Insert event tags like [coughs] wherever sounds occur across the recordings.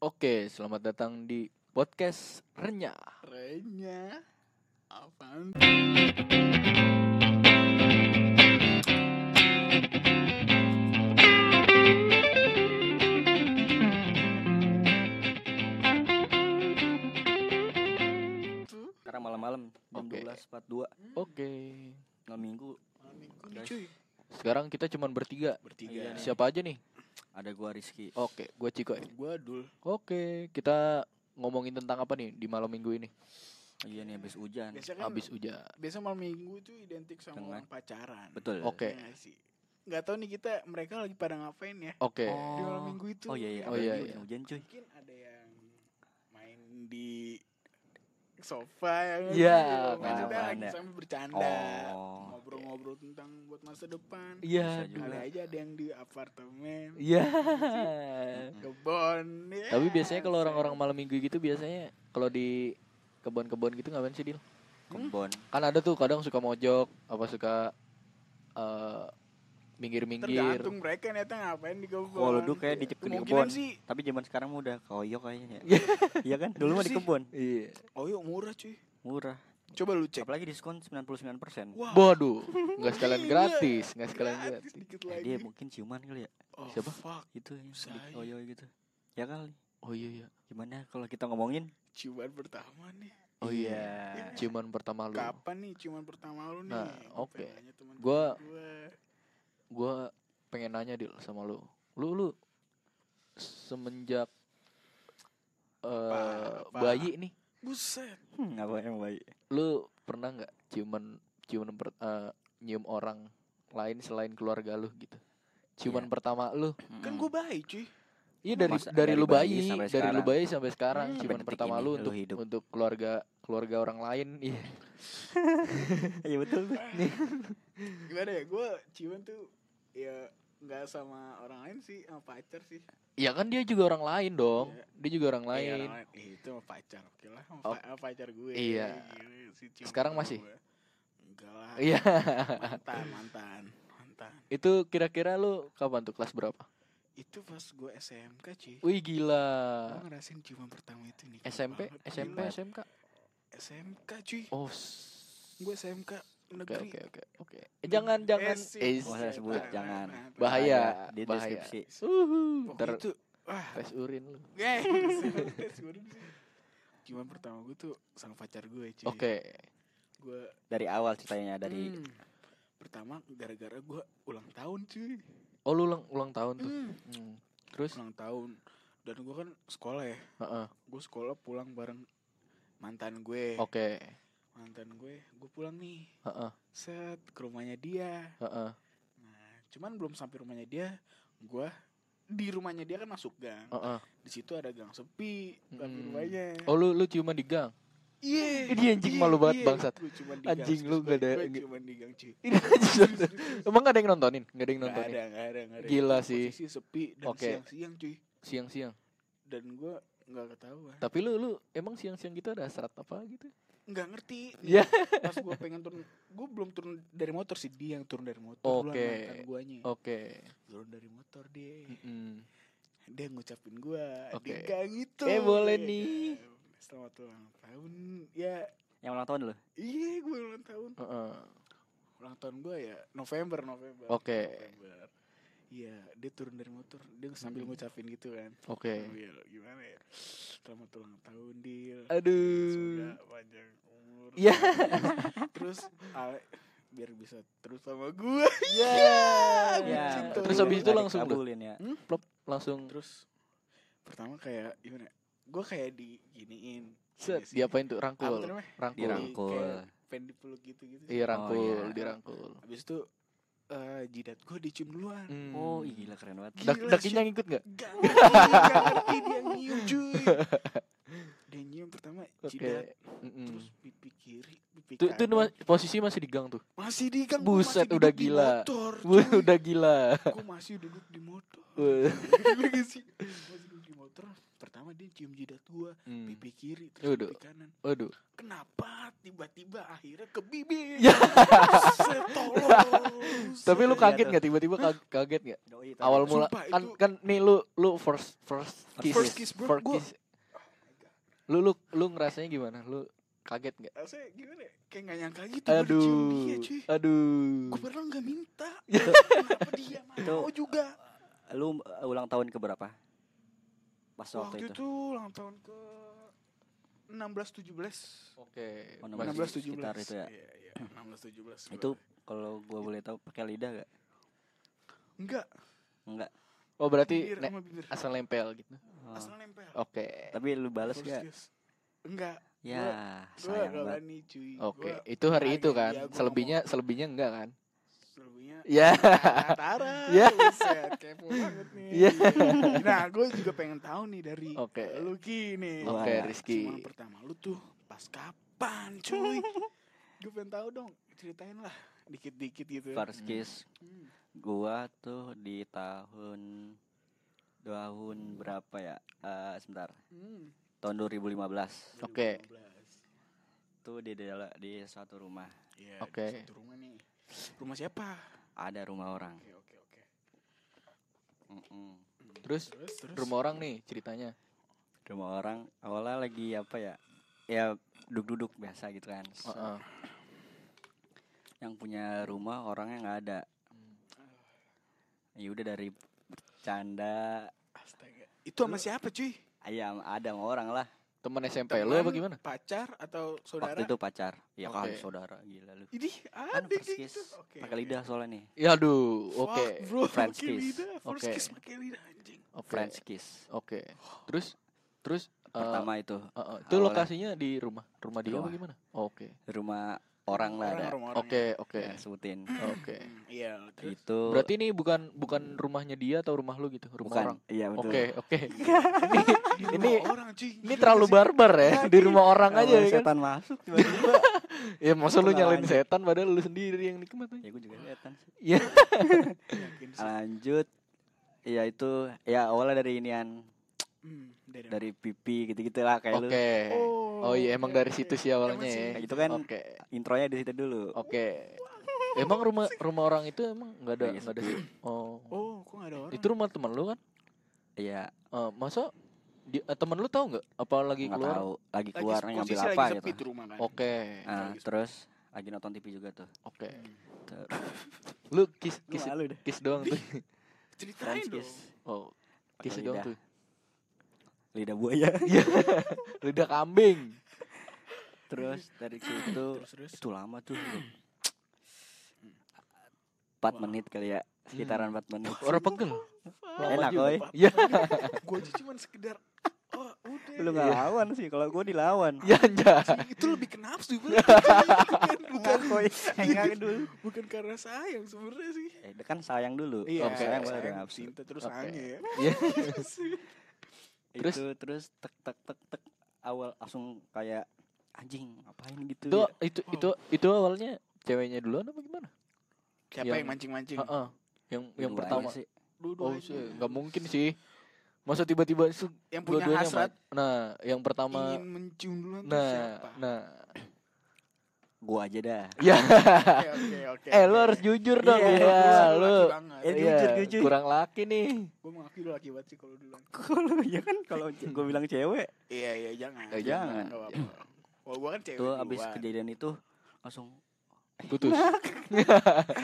Oke, selamat datang di podcast Renyah. Renya Apaan? Tuh Sekarang malam-malam jam Oke. 12.42 Oke. malam minggu malam minggu nih, Guys. cuy Sekarang kita cuman bertiga. bertiga. Iya nih. Siapa aja nih? Ada gua Rizky. Oh, Oke, gue Ciko. Gua dul Oke, kita ngomongin tentang apa nih di malam minggu ini? Iya nih habis hujan. Biasanya kan Habis hujan. Biasa malam minggu itu identik sama Dengan- orang pacaran Betul. Oke. Iya nggak sih Gak tau nih kita Mereka lagi pada ngapain ya Oke. Di malam minggu itu Oh iya iya. Oh, apalagi iya, iya. Hujan-hujan cuy. Mungkin ada yang Main di sofa ya nggak Iya, sih? Maksudnya kenapa lagi Anda? sambil bercanda Oh. Ngobrol-ngobrol tentang buat masa depan Iya. Bisa juga. Ada dua. aja ada yang di apartemen Iya. Kebon ya. Tapi biasanya kalau orang-orang malam minggu gitu biasanya kalau di kebun-kebun gitu ngapain sih, Dil? Kembon. Kan ada tuh kadang suka mojok, apa suka eh, minggir-minggir. Tergantung mereka niatnya ngapain di kebon Kalau dulu kayak di di Kemungkinan kebon. sih Tapi zaman sekarang mah udah koyok kayaknya. ya. [laughs] Iya kan? Dulu mah di Sih. kebun. Iya. Oh yuk murah cuy Murah. Coba lu cek Apalagi diskon 99%. Wah Waduh, nggak sekalian Iya. gratis, nggak sekalian gratis gratis. dikit Ya, lagi dia mungkin ciuman kali ya. Oh, Siapa? fuck Itu ya, di Saya. koyok gitu. Ya kali. Oh iya iya. Gimana kalau kita ngomongin? Ciuman pertama nih Oh iya. Eh, Ciuman pertama lu. Kapan nih ciuman pertama lu nih Nah, Gua oke. pengen nanya teman-teman Gua- gua. Gua pengen nanya Dil sama lu. Lu lu semenjak eh Apa, apa? bayi nih, Buset Hmm, apa yang baik? lu pernah nggak ciuman ciuman per, eh, nyium orang lain selain keluarga lu gitu? Ciuman pertama lu. Kan Hmm. gua Mm. baik cuy Iya dari Masa- dari dari lu bayi bayi, sampai dari lu sekarang. bayi sampai sekarang Sampai ciuman detik pertama lu ini lu untuk hidup. untuk keluarga keluarga orang lain. Iya. [laughs] Iya betul. tuh. Gimana ya Gua ciuman tuh Ya nggak sama orang lain sih Sama pacar sih Ya kan dia juga orang lain dong. Iya. Dia juga orang Iya, lain. orang lain. Ih, itu sama pacar oke lah sama, Oh. pa- sama pacar gue Iya. Gila, si cium Sekarang pertama masih? gue. enggak lah Iya. mantan mantan mantan Itu kira-kira lu kapan tuh kelas berapa? itu pas gue SMK cuy Wih gila. gue ngerasain ciuman pertama itu nih keren SMP, banget. SMP, Gila. SMK. SMK cuy Oh. s- gue SMK Oke, negeri oke, oke, oke. Eh, Jangan, jangan. sih. Eh, Nggak usah sebut, Nah, jangan. nah, nah. Bahaya, Ada Di bahaya. deskripsi. Uhu, Waktu Uhuh. ntar itu [laughs] wah tes urin lu. eh, tes gue dulu sih. ciuman pertama gue tuh sama pacar gue cuy Oke. gue Dari awal ceritanya dari Hmm. pertama gara-gara gue ulang tahun cuy Oh, lu ulang ulang tahun tuh. Hmm. Hmm. Terus, ulang tahun dan gue kan sekolah ya heeh, gue sekolah pulang bareng mantan gue oke. mantan gue gue pulang nih Heeh, set ke rumahnya dia heeh. nah cuman belum sampai rumahnya dia gue di rumahnya dia kan masuk gang heeh. di situ ada gang sepi gang Oh. Hmm. rumahnya Oh, lu lu ciuman di gang. iya Ini anjing malu banget, bangsat. Gua cuman di Anjing, gang, lu serius, gak ada- gua nggak- cuman di gang cuy Ini aja. [laughs] Emang gak ada yang nontonin? Gak ada yang nggak nontonin. ada nggak ada nggak ada Gila Itu sih. posisi sepi dan Oke. siang-siang cuy Siang-siang. dan gue nggak ketahuan Tapi lu lu emang siang-siang gitu ada serat apa gitu? nggak ngerti Iya. pas gue pengen turun gue belum turun dari motor sih dia yang turun dari motor duluan, Oke. mantan guanya Oke. Hmm. turun dari motor dia Mm-mm. dia ngucapin gua Oke. di gang itu Eh, boleh nih. Eh, selamat ulang tahun ya yang ulang tahun dulu. iya gue ulang tahun Heeh. ulang tahun gua ya November November Oke. November. Iya, dia turun dari motor, dia sambil ngucapin gitu kan. Oke. Oh, iya, gimana ya? Selamat ulang tahun, Dil. Aduh. Semoga panjang umur. Iya. [laughs] Terus ale, biar bisa terus sama gua. Ya. Ya. Iya. Terus habis itu langsung lu kabulin ya. langsung Terus pertama kayak gimana? Gua kayak diginiin. set Iya sih. diapain tuh Apa rangkul. namanya? Rangkul. Dirangkul. Dirangkul. pengen dipeluk gitu-gitu. Iya rangkul, Oh, iya. dirangkul. Habis itu eh, jidat gue dicium duluan. Hmm. Oh, ih, gila keren banget. Dak Gila, dakinya cuy. ngikut nggak? Gak ngerti, gak ngerti dia nyium [laughs] cuy. Dia nyium pertama Oke. Hmm. jidat, Mm-mm. terus pipi kiri, pipi Tuh, kanan. tuh ma- posisi masih di [laughs] gang tuh. masih di gang, gua Buset, udah masih duduk di gila. Motor, Wah, cuy. udah gila. [laughs] Gua masih duduk di motor. Wah. Gila gak sih? Masih duduk di motor. pertama dia cium jidat gua Hmm. pipi kiri terus Waduh. pipi kanan Waduh. kenapa tiba-tiba akhirnya ke bibir Ya. [laughs] Setolong. Tapi lu Iya kaget tuh. nggak tiba-tiba kag- kaget nggak? Doi tadi. Awal mula Sumpah, kan itu- kan nih lu lu first first kiss. First kiss, bro. First Gua- kiss. Lu lu lu ngerasanya gimana? Lu kaget nggak? Rasanya gimana ya? kayak gak nyangka gitu gua dicium Aduh. Hmm. dia cuy Aduh. gue padahal gak [laughs] minta Ya. kenapa dia Itu- mau juga Lu uh, ulang tahun ke berapa? Pas waktu, waktu itu. itu ulang tahun ke 16 17 Oke. Oh, masih- 16 17 sekitar itu ya. Iya, iya, Hmm. 16 17. Itu kalau gua boleh tahu pakai lidah gak? enggak, Enggak. Oh, berarti bibir ne- sama bibir. asal nempel gitu. Oh. Asal nempel. Oke. Tapi lu balas First gak? kiss. Enggak, Ya, gue gak sayang banget. berani cuy. Oke, Gua itu hari itu kaget, kan. iya, gua selebihnya selebihnya enggak kan? Selebihnya Ya. Tara, [laughs] Ya. buset, kepo banget nih. Ya. Nah, gue juga pengen tahu nih dari Oke. lu Ki nih. Gua Oke, ada Rizky. Cuma pertama lu tuh pas kapan cuy? gue pengen tahu dong, ceritain lah dikit-dikit gitu. First Hmm. kiss Hmm. gua tuh di tahun tahun berapa ya? Eh sebentar. Hmm. Tahun 2015 Oke. 2015. tuh di di, di suatu rumah Iya, Oke. di satu rumah nih. Rumah siapa? ada rumah orang. Oke, oke, oke. Mm-mm. Terus Terus, terus. rumah orang nih ceritanya. Rumah orang awalnya lagi apa ya? Ya duduk-duduk biasa gitu kan. Heeh. Yang punya rumah orangnya nggak ada. Ya udah dari bercanda Astaga. Itu sama siapa, cuy? ayam ada sama orang lah. Temen SMP lu apa Teman, gimana? Pacar atau saudara? Waktu itu pacar. Ya Oke. kali saudara gila lu. Ini Kan ada first kayak kiss gitu. Oke, pakai lidah soalnya nih. Ya aduh, Fuck, oke. bro, French pakai kiss. lidah. First Oke. kiss pakai lidah anjing. Oke. French kiss. Oke. Terus terus eh, Pertama itu eh, eh, itu awalnya. lokasinya di rumah rumah dia apa Rumah. gimana? Oke. rumah orang lah ada. Orang-orang Oke, oke. Ya, sebutin. Oke. Hmm, Iya, terus. Itu Berarti ini bukan bukan rumahnya dia atau rumah lu gitu, rumah bukan orang. iya betul. Oke, [laughs] oke. Di Ini ini rumah orang, cuy. ini Gila terlalu sih. barbar ya di rumah orang Awalnya aja ya kan. setan masuk tiba-tiba. Ya masa lu Tenang nyalain aja. setan padahal lu sendiri yang nikmatin. [laughs] ya gue juga setan sih. Iya. Yakin Ah. sih. Lanjut ya itu ya awalnya dari inian Hmm, dari- dari pipi gitu-gitu lah kayak lu. Oke. Oh iya emang oke, dari oke. situ sih awalnya Emang ya. sih. Itu kan Oke. intronya di situ dulu. Oke. Emang rumah rumah orang itu emang nggak ada Iya, nggak ada. Oh. Oh, kok gak ada orang? Itu rumah teman lu kan? Iya, Eh, masa di, eh, teman lu tahu nggak apa lagi nggak keluar? tahu lagi Lagi keluar ngambil posisi apa lagi gitu. sepi tuh rumah kan. Oke. Nah, Lagi sepi. terus lagi nonton TV juga tuh. Oke. Ter- Lu kiss Gua kiss malu deh. kiss doang tuh. Ceritain French dong. kiss. Oh. Kiss Pakai doang lidah. tuh. Lidah buaya. Iya. Lidah kambing. terus dari situ Terus, terus. itu lama tuh. 4 menit kali ya. Sekitaran 4 menit. Orang [laughs] pegel. Lama [laughs] Enak, juga. oi. Iya. gue aja cuman sekedar oh udah Lu nggak lawan sih kalau gue dilawan. Ya anjay. itu lebih ke nafsu [laughs] bener. bukan, bukan, Ngakoy, enggak dulu. bukan karena sayang sebenarnya sih Eh, kan sayang dulu. iya Oke. sayang sayang baru sayang nafsu. cinta terus Oke. sange ya Iya. [laughs] Terus? Terus itu, terus tek tek tek tek awal langsung kayak anjing ngapain gitu. Itu Iya. ya. itu Oh. itu itu awalnya ceweknya duluan apa gimana? siapa Yang- yang mancing mancing Heeh. Yang yang Keduanya pertama. ya?" sih. Iya. Oh, sih, nggak mungkin sih. Masa tiba-tiba su- yang punya dua-duanya hasrat ma- Nah, yang pertama ingin mencium duluan nah, tuh [laughs] siapa [laughs] nah. Gua aja [laughs] dah. Ya. oke oke oke eh, lu oke. harus jujur dong Iya, ya. Lu Lu laki banget. Eh, Iya, jujur, jujur. kurang laki nih. gue mengakui lu laki banget sih kalau duluan Kalau ya kan [laughs] kalau gue bilang cewek iya iya jangan Eh, jangan. Nggak apa-apa. Kalau gue kan cewek tuh abis duluan. kejadian itu langsung Putus. Nah.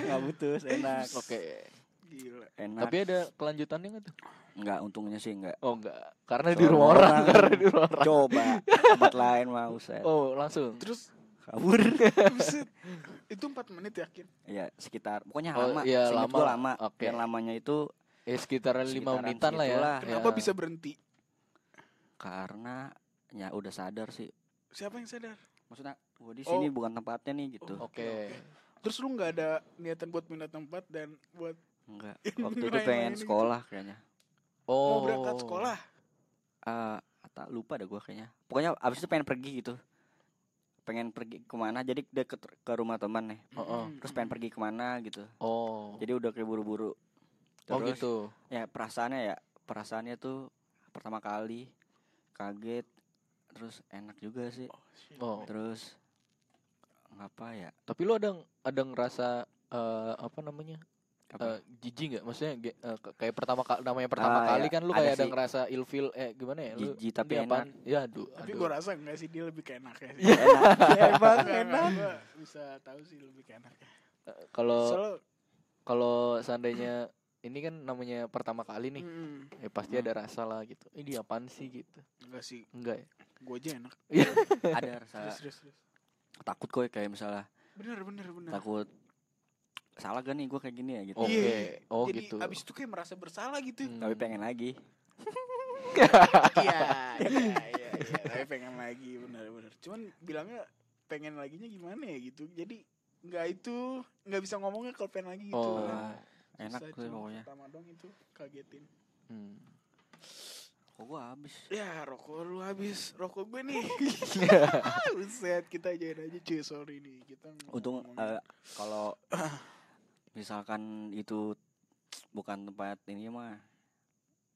nggak putus [laughs] enak Oke. gila enak Tapi ya- ada kelanjutannya nggak tuh? nggak untungnya sih nggak Oh, enggak. Karena di Soalnya rumah orang, orang. karena di rumah [laughs] orang. coba tempat lain mau saya Oh, langsung. terus [laughs] kabur buset. itu empat menit yakin ya sekitar pokoknya Oh, lama iya, Seingat lama. gua lama Oke. yang lamanya itu Eh, sekitaran 5 sekitaran menitan lah ya. segitulah. kenapa Ya. bisa berhenti karena ya udah sadar sih siapa yang sadar maksudnya gue di Oh. sini bukan tempatnya nih gitu Oh. Oke. Terus lu nggak ada niatan buat pindah tempat dan buat enggak Ini waktu itu main-main pengen gitu. sekolah kayaknya Oh. mau berangkat sekolah? Eh, tak lupa dah gue kayaknya pokoknya abis itu pengen pergi gitu pengen pergi kemana jadi deket ke rumah teman nih Heeh. terus Hmm. pengen pergi kemana gitu Oh. jadi udah kayak buru-buru Oh terus gitu. ya perasaannya ya perasaannya tuh pertama kali kaget terus enak juga sih Oh, terus ngapa ya tapi lu ada ada ngerasa eh, apa namanya? Apa? eh, jijik nggak? Maksudnya ge- eh, ke- kayak pertama kali namanya pertama Ah, kali ya, kan lu ada kayak ada sih. ngerasa ilfeel eh gimana ya lu? Jijik tapi ini apaan? enak. Ya aduh. Tapi aduh. gue rasa enggak sih dia lebih keenak ya [laughs] sih. enak Ya, [laughs] emang enak. Gue bisa tahu sih lebih keenak. Eh, Kalau Soalnya kalau seandainya ini kan namanya pertama kali nih, mm, ya pasti Hmm. ada rasa lah gitu. Ini apaan sih gitu? enggak sih. Enggak ya? Gue aja enak. ada Terus rasa terus terus. takut kok ya, kayak misalnya Bener bener bener. takut salah gak nih gue kayak gini ya gitu Oke. Iya. Oh Jadi gitu. abis itu kayak merasa bersalah [laughs] gitu. Hmm. tapi pengen lagi Iya, [laughs] iya, iya, iya. Tapi pengen lagi, benar-benar. Cuman bilangnya pengen laginya gimana ya gitu. Jadi nggak itu, nggak bisa ngomongnya kalau pengen lagi gitu. Oh. Nah, Wah, enak susah, gue cuman pokoknya Pertama dong itu kagetin. Hmm. kok gue habis Ya rokok lu habis, rokok gue nih. Ah, Buset, kita ajain aja cuy, sorry nih. Kita ngomong- untung ngomongin. eh, kalau [coughs] misalkan itu bukan tempat ini mah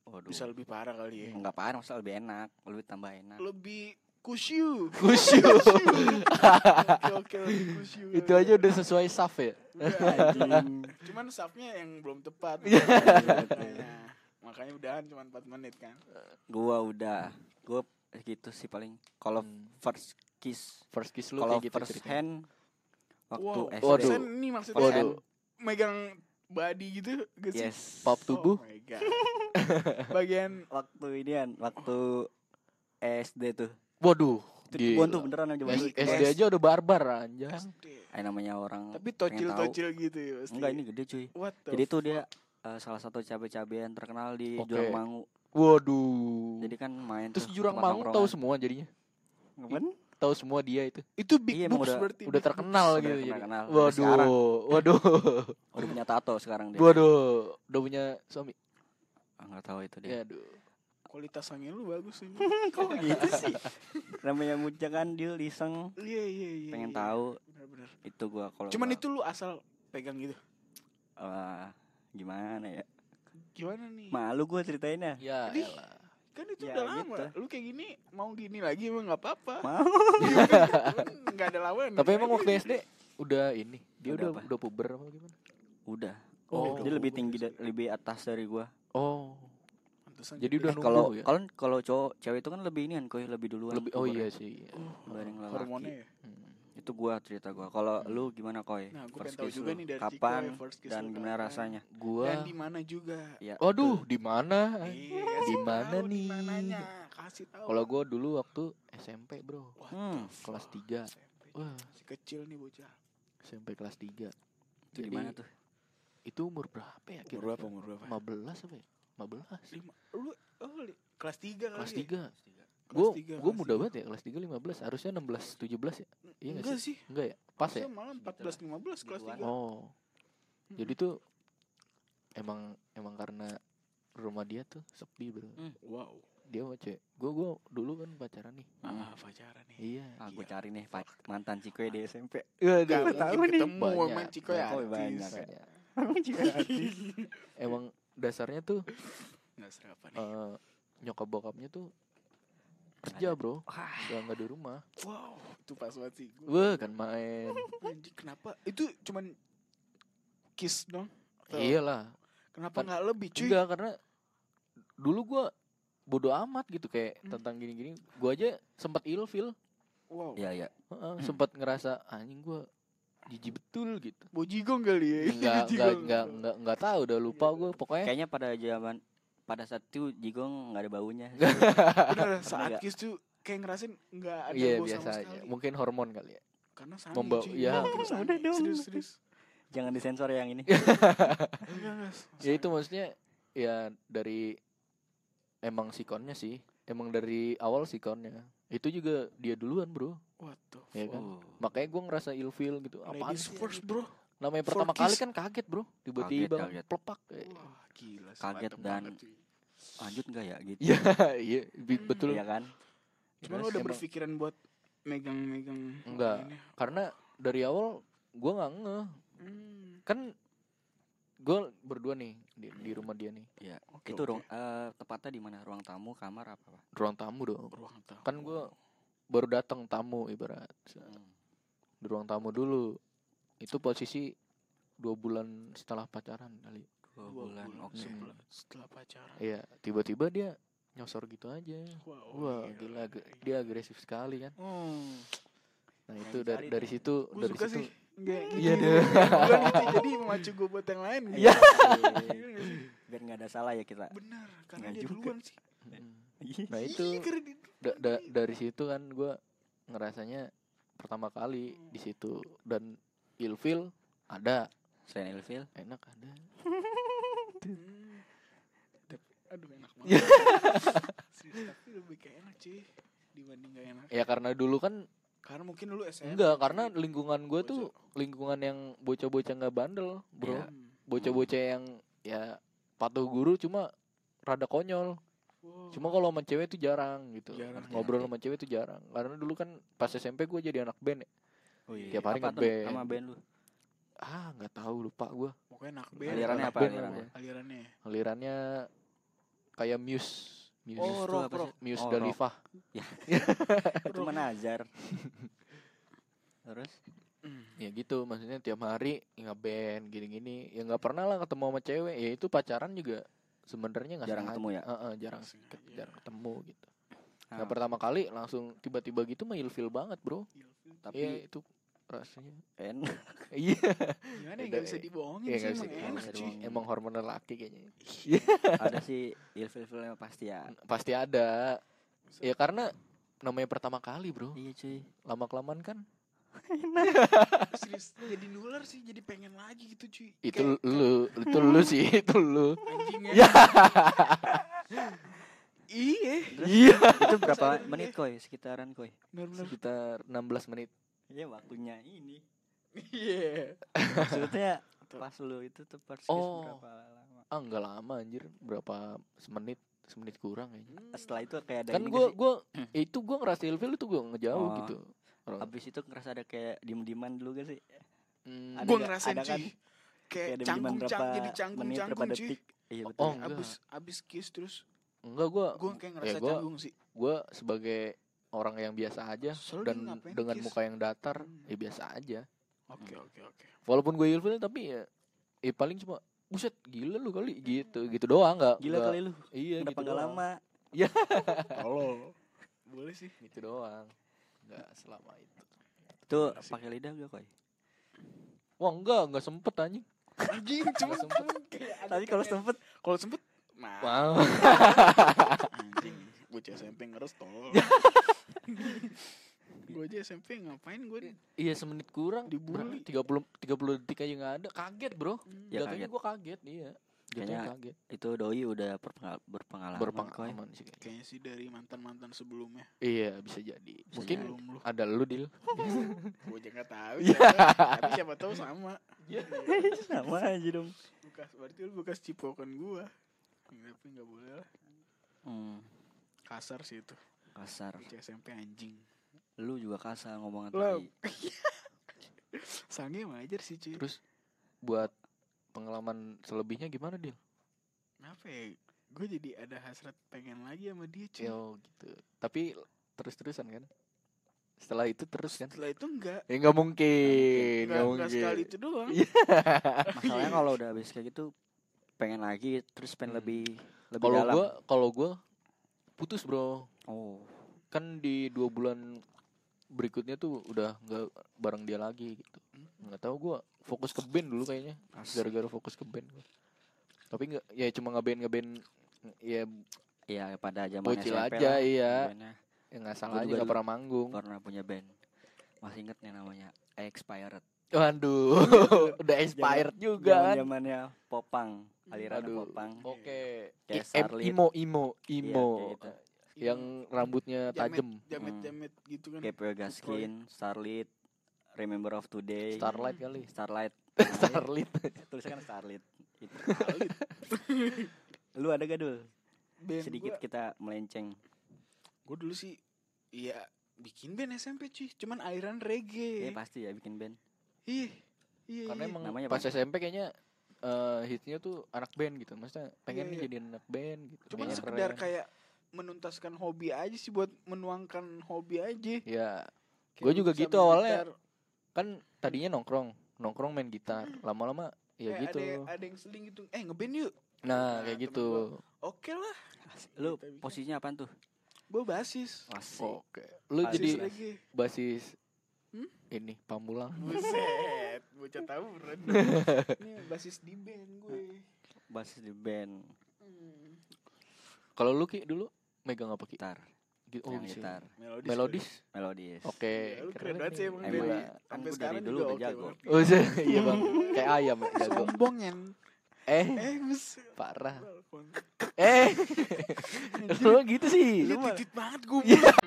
waduh bisa lebih parah kali ya. nggak parah maksudnya lebih enak lebih tambah enak Lebih kusyu. Kusyu. Oke, oke, lebih kusyu. [laughs] itu aja udah sesuai saf ya. Udah, Anjing. Cuman sapnya yang belum tepat. Makanya. Makanya udahan cuma 4 menit kan. [coughs] gua udah gua gitu sih paling kalau Hmm. first kiss First kiss lu kalau kayak gitu first ceritanya. hand waktu Wow, SD Waduh. Sen ini maksudnya kan Waduh. megang body gitu gak sih? yes Pop tubuh. Oh my God. Bagian waktu inian waktu SD tuh Waduh. Ribuan gila. tuh beneran aja Ini banyak SD aja udah barbar anjang. SD. Eh, namanya orang Tapi tocil-tocil gitu ya pasti. enggak ini gede cuy What the jadi tuh dia eh, salah satu cabe-cabean terkenal di Oke. Jurang Mangu Waduh. jadi kan main Terus tuh jurang tempat ya. kan? mau tahu semua jadinya. nongkrongan. kan? Apaan? Tahu semua dia itu. Itu big Iya, emang boobs udah- berarti. Udah big terkenal udah gitu jadi. terkenal. Sampai sekarang. Waduh. Waduh. udah punya tato sekarang dia Waduh. Udah punya suami. Ah, nggak tahu itu dia Iya. Ya aduh. boobs. Kualitas angin lu bagus sih. [laughs] kok gitu sih namanya Muja kan dia iseng Iya, iya, iya. pengen iya. tahu Bener-bener. itu gua kalau Cuman gua- itu lu asal pegang gitu. Wah, gimana ya Gimana nih? malu gua ceritainnya Ya Jadi- elah. Kan itu Ya, udah lama. Lu kayak gini mau gini lagi emang nggak apa-apa. [laughs] mau Enggak ada lawan. Tapi emang waktu SD udah ini. Dia Udah udah udah, apa? puber apa gimana? udah Oh. dia lebih tinggi da- lebih atas dari gua Oh. iya, Pantesan Jadi gitu. udah Eh, nunggu kalau ya. kalau kalau cowok cewek itu kan lebih ini kan koi lebih duluan Lebih oh iya pubernya sih. iya. dibanding lelaki. hormonnya ya. Hmm. itu gua cerita gua kalau lu gimana koi Nah, gua First pengen tahu kiss juga lu. nih dari Ciko kapan ya, first kiss dan lu gimana kapan. rasanya Gua Dan di mana juga. ya Waduh, di mana? Iya, Iya. Di sih, mana tahu di nih? mananya. Kasih tahu. Kalau gua dulu waktu SMP, Bro. Wah, Hmm, kelas tiga. SMP. Wah, Masih kecil nih bocah. SMP kelas 3. itu gimana tuh Itu umur berapa ya? Umur berapa? Umur berapa? 15 apa ya? 15. Lima. Lu oh, li- kelas 3 kali. Kelas ya? 3. Kelas Gue tiga, gue kelas muda tiga. banget ya kelas 3 15. Harusnya 16 17 ya? Iya nggak Enggak sih. Enggak ya? Pas ya? Saya malah 14 15 kelas Gituan. 3. Oh. Hmm. Jadi tuh emang emang karena rumah dia tuh sepi, Bro. wow. Dia sama cewek. Gue gua dulu kan pacaran nih. Ah, pacaran nih. Iya. ah gua cari nih Pak, mantan Ciko ya di SMP Gak Iya, mungkin ketemu sama Banyak, Ciko ya. banyak, artis. banyak. [laughs] Emang dasarnya tuh Nggak serapan nih. eh, nyokap bokapnya tuh kerja, Bro. wah Gak nggak di rumah. Wow, itu pas banget sih. Wah, Gua- kan main. Anjir, kenapa? Itu cuman kiss dong. Atau Iyalah. Kenapa Kan- nggak lebih, Iya. cuy? Enggak karena dulu gua bodoh amat gitu kayak Hmm. tentang gini-gini. Gua aja sempat ilfil, Wow. Iya. ya ya Heeh, [clears throat] sempat ngerasa anjing gua jijik betul [laughs] gitu. Bojigong kali [laughs] ya. Enggak enggak Bojigong. enggak enggak enggak tahu udah lupa gua pokoknya. kayaknya pada zaman pada saat itu jigong nggak ada baunya Bener, saat enggak. kiss tuh kayak ngerasin nggak ada Iya bau biasa sama aja. sekali. Mungkin hormon kali ya. Karena sange, Membau- cuy. ya. Karena sange. Udah dong. Serius, serius. jangan disensor ya yang ini Enggak, enggak. Ya itu maksudnya ya dari emang sikonnya sih. Emang dari awal sikonnya. Itu juga dia duluan, Bro. What the fuck? Ya kan? Oh. Makanya gua ngerasa ilfil gitu. Apaan Ladies sih? first, bro. Namanya For pertama kali kiss. kan kaget bro Tiba-tiba kaget. plepak Wah, gila. sih, Kaget mantep dan- banget, cuy. lanjut nggak ya gitu Iya [laughs] iya bi- betul Iya kan Terus Cuman lo udah emang- berpikiran buat megang-megang Enggak. ini? ya? Karena dari awal gua gak ngeh Hmm. Kan gue berdua nih di, di rumah dia nih Iya. Oke, itu oke. ruang eh, tepatnya di mana? Ruang tamu, kamar apa, Pak? ruang tamu dong Ruang tamu. kan gue baru datang tamu ibarat Hmm. di ruang tamu dulu itu posisi dua bulan setelah pacaran kali Dua, Dua bulan. Oke. sebulan setelah pacaran. iya tiba-tiba dia nyosor gitu aja Wow, wah gila ag- dia agresif sekali kan Hmm. nah Keren itu dari sekali dari tuh. situ Gue dari suka situ sih. Nggak gitu. Iya, deh. [laughs] Bukan itu, jadi memacu gue buat yang lain. gitu. Iya. [laughs] Iya nggak sih? Biar nggak ada salah ya kita. Benar, karena Nggak dia juga. duluan sih. Mm. Iya. nah Ih, itu karena dia duluan. da- da- dari situ kan gue ngerasanya pertama kali di situ dan ilfil ada Selain Elvil, enak ada Hmm. Tapi- Aduh enak [laughs] banget. Sih, Tapi lebih kayak enak cuy dibanding gak enak. ya karena dulu kan Karena mungkin lu SMA. enggak jadi karena lingkungan gue tuh gitu? bocah. lingkungan yang bocah-bocah nggak bandel bro Iya. Hmm. bocah-bocah yang ya patuh guru cuma rada konyol Wow. cuma kalau sama cewek tuh jarang gitu Jarang, ya. ngobrol jarang. sama cewek tuh jarang karena dulu kan pas SMP gue jadi anak band ya. oh Tiap hari apa tuh ngeband. sama band lu? ah nggak tahu lupa gue pokoknya anak band. Alirannya anak apa band alirannya? Alirannya. alirannya kayak Muse Muse Oh, Muse tuh rock, apa sih? rock. Muse Oh, rock. Dalifah Itu menazar. Eh, Terus Hmm. ya gitu maksudnya tiap hari ya ngeband gini-gini ya nggak pernah lah ketemu sama cewek ya itu pacaran juga sebenarnya nggak Jarang sengaja. ketemu ya? Heeh, jarang Nggak ket- sengaja. jarang ketemu gitu Ah, nah pertama kali langsung tiba-tiba gitu mah ilfil banget bro ya tapi itu rasanya [laughs] en iya Gimana ya Beda gak bisa ya. dibohongin ya sih nggak bisa emang enak dibohongin. cuy. dibohongin. emang hormon lelaki kayaknya ada sih ilfil ilfilnya pasti ya. [laughs] pasti ada ya karena namanya pertama kali bro Iya cuy. lama kelamaan kan Serius, jadi nular sih, jadi pengen lagi gitu cuy. itu Kayak- lu itu lu sih [laughs] itu lu anjingnya. Ya. iya. iya Itu berapa ada menit koi? Sekitaran koi? Benar-benar. sekitar 16 menit Iya waktunya ini. Iya. Maksudnya Tuh. pas lu itu tuh persis Oh. berapa lama? ah nggak lama anjir berapa semenit semenit kurang kayaknya Setelah itu kayak ada kan ini nggak gue sih? gue itu gue ngerasa ilfil itu gue ngejauh Oh. gitu Abis itu ngerasa ada kayak diem-dieman dulu gak sih? Eh, Hmm, Gue Ada nggak- ngerasain ada kan? cuy. Kayak diem-dieman canggung cang jadi canggung menit, canggung cuy. detik. Iya betul. Oh, enggak. Abis abis kiss terus enggak gue gue kayak ngerasa gua- canggung sih. gue sebagai orang yang biasa aja Soalnya dia dan ngapain dengan kiss? muka yang datar Hmm. ya biasa aja Oke oke oke. walaupun gue ilfil tapi ya eh paling cuma buset gila lu kali gitu gitu doang nggak Gila nggak- kali lu. iya Kenapa gitu nggak doang lama? Halo. Boleh sih. gitu doang nggak selama itu Itu Gila sih. pakai lidah gak koi? wah enggak nggak sempet anjing Anjing cuman cuman kayak ada Tapi kalau pengen- sempet kalau sempet mah wow anjing bocah SMP ngerestol [laughs] gue aja SMP ngapain gue iya semenit kurang Dibully. tiga puluh tiga puluh detik aja nggak ada kaget bro Ya, jatuhnya kaget. gue kaget iya jatuhnya Kayaknya kaget itu doi udah berpengal- berpengalaman, Koi. berpengalaman sih kayaknya. kayaknya sih dari mantan mantan sebelumnya iya bisa jadi mungkin sebelum lu Iya. ada lu dil gue aja nggak tahu siapa- tapi siapa tahu sama [laughs] Sama aja dong. bekas berarti lu bekas cipokan gue tapi nggak boleh lah Hmm, kasar sih itu kasar. bocah SMP anjing Lu juga kasar ngomongan Lah. tadi. sange majer sih cuy terus buat pengalaman selebihnya gimana dil kenapa ya gue jadi ada hasrat pengen lagi sama dia cuy Yo gitu tapi terus terusan kan setelah itu terus kan setelah itu enggak ya nggak mungkin enggak, nggak enggak sekali mungkin itu doang [laughs] Masalahnya kalau udah habis kayak gitu pengen lagi terus pengen Hmm. lebih lebih kalau dalam. gue kalau gue putus bro Oh, kan di dua bulan berikutnya tuh udah nggak bareng dia lagi gitu nggak tahu gua fokus ke band dulu kayaknya asik. gara-gara fokus ke band gua. tapi nggak ya cuma nggak band nggak band ya Iya pada zaman Bocil SMP aja, lah, iya. bandnya. ya nggak salah Gua aja juga nggak dulu. pernah manggung Pernah punya band. Masih inget nih namanya Expired. Iya, waduh [laughs] udah expired juga kan Zaman-zamannya Popang, aliran Aduh. Popang. oke I- em- Kayak Starlit. imo imo Iya, imo kayak gitu. yang Iya, rambutnya tajam jamet Hmm. jamet gitu kan Kayak Pearl Gaskin, Starlit, Remember of Today, starlight kali Starlight. [laughs] starlit Tulisnya kan Starlit. Itu. Lu ada gak dul? Iya, Sedikit kita melenceng. gue dulu sih iya bikin band SMP cuy cuman aliran Iya reggae pasti ya bikin band. Ih, iya [laughs] karena iya. emang Namanya pas apa? SMP kayaknya eh, hitsnya tuh anak band gitu maksudnya pengen Iya, nih iya. jadi anak band gitu Cuman Pengen sekedar keren. kayak menuntaskan hobi aja sih buat menuangkan hobi aja. ya Kayak Gua lu juga bisa gitu main awalnya. gitar. kan tadinya nongkrong nongkrong main gitar lama-lama ya Hmm. Kayak gitu Eh, Ada, ada yang seling gitu. Eh ngeband yuk. nah Nah, kayak temen gitu Oke lah. Lu Kita bisa. posisinya apaan tuh? Gua basis. Asik. oke lu Ah, Basis jadi Basis lagi. basis Hmm? ini pamulang Buset, bocah [laughs] tawuran. Ini basis di band gue. Basis di band Hmm. kalau lu ki dulu megang apa ki gitar, Gi- oh, yang bisa. Nah, gitar, Melodis. melodis melodis. oke Iya, lu keren banget sih nih. emang Emang dari kan sampai gua dari sekarang dulu juga udah oke jago. banget. [laughs] Oh, iya, iya bang kayak ayam ya, jago Sombong kan. eh Eh, buset. parah Balkon. eh [laughs] lu gitu sih Ini lu mah titit banget gue.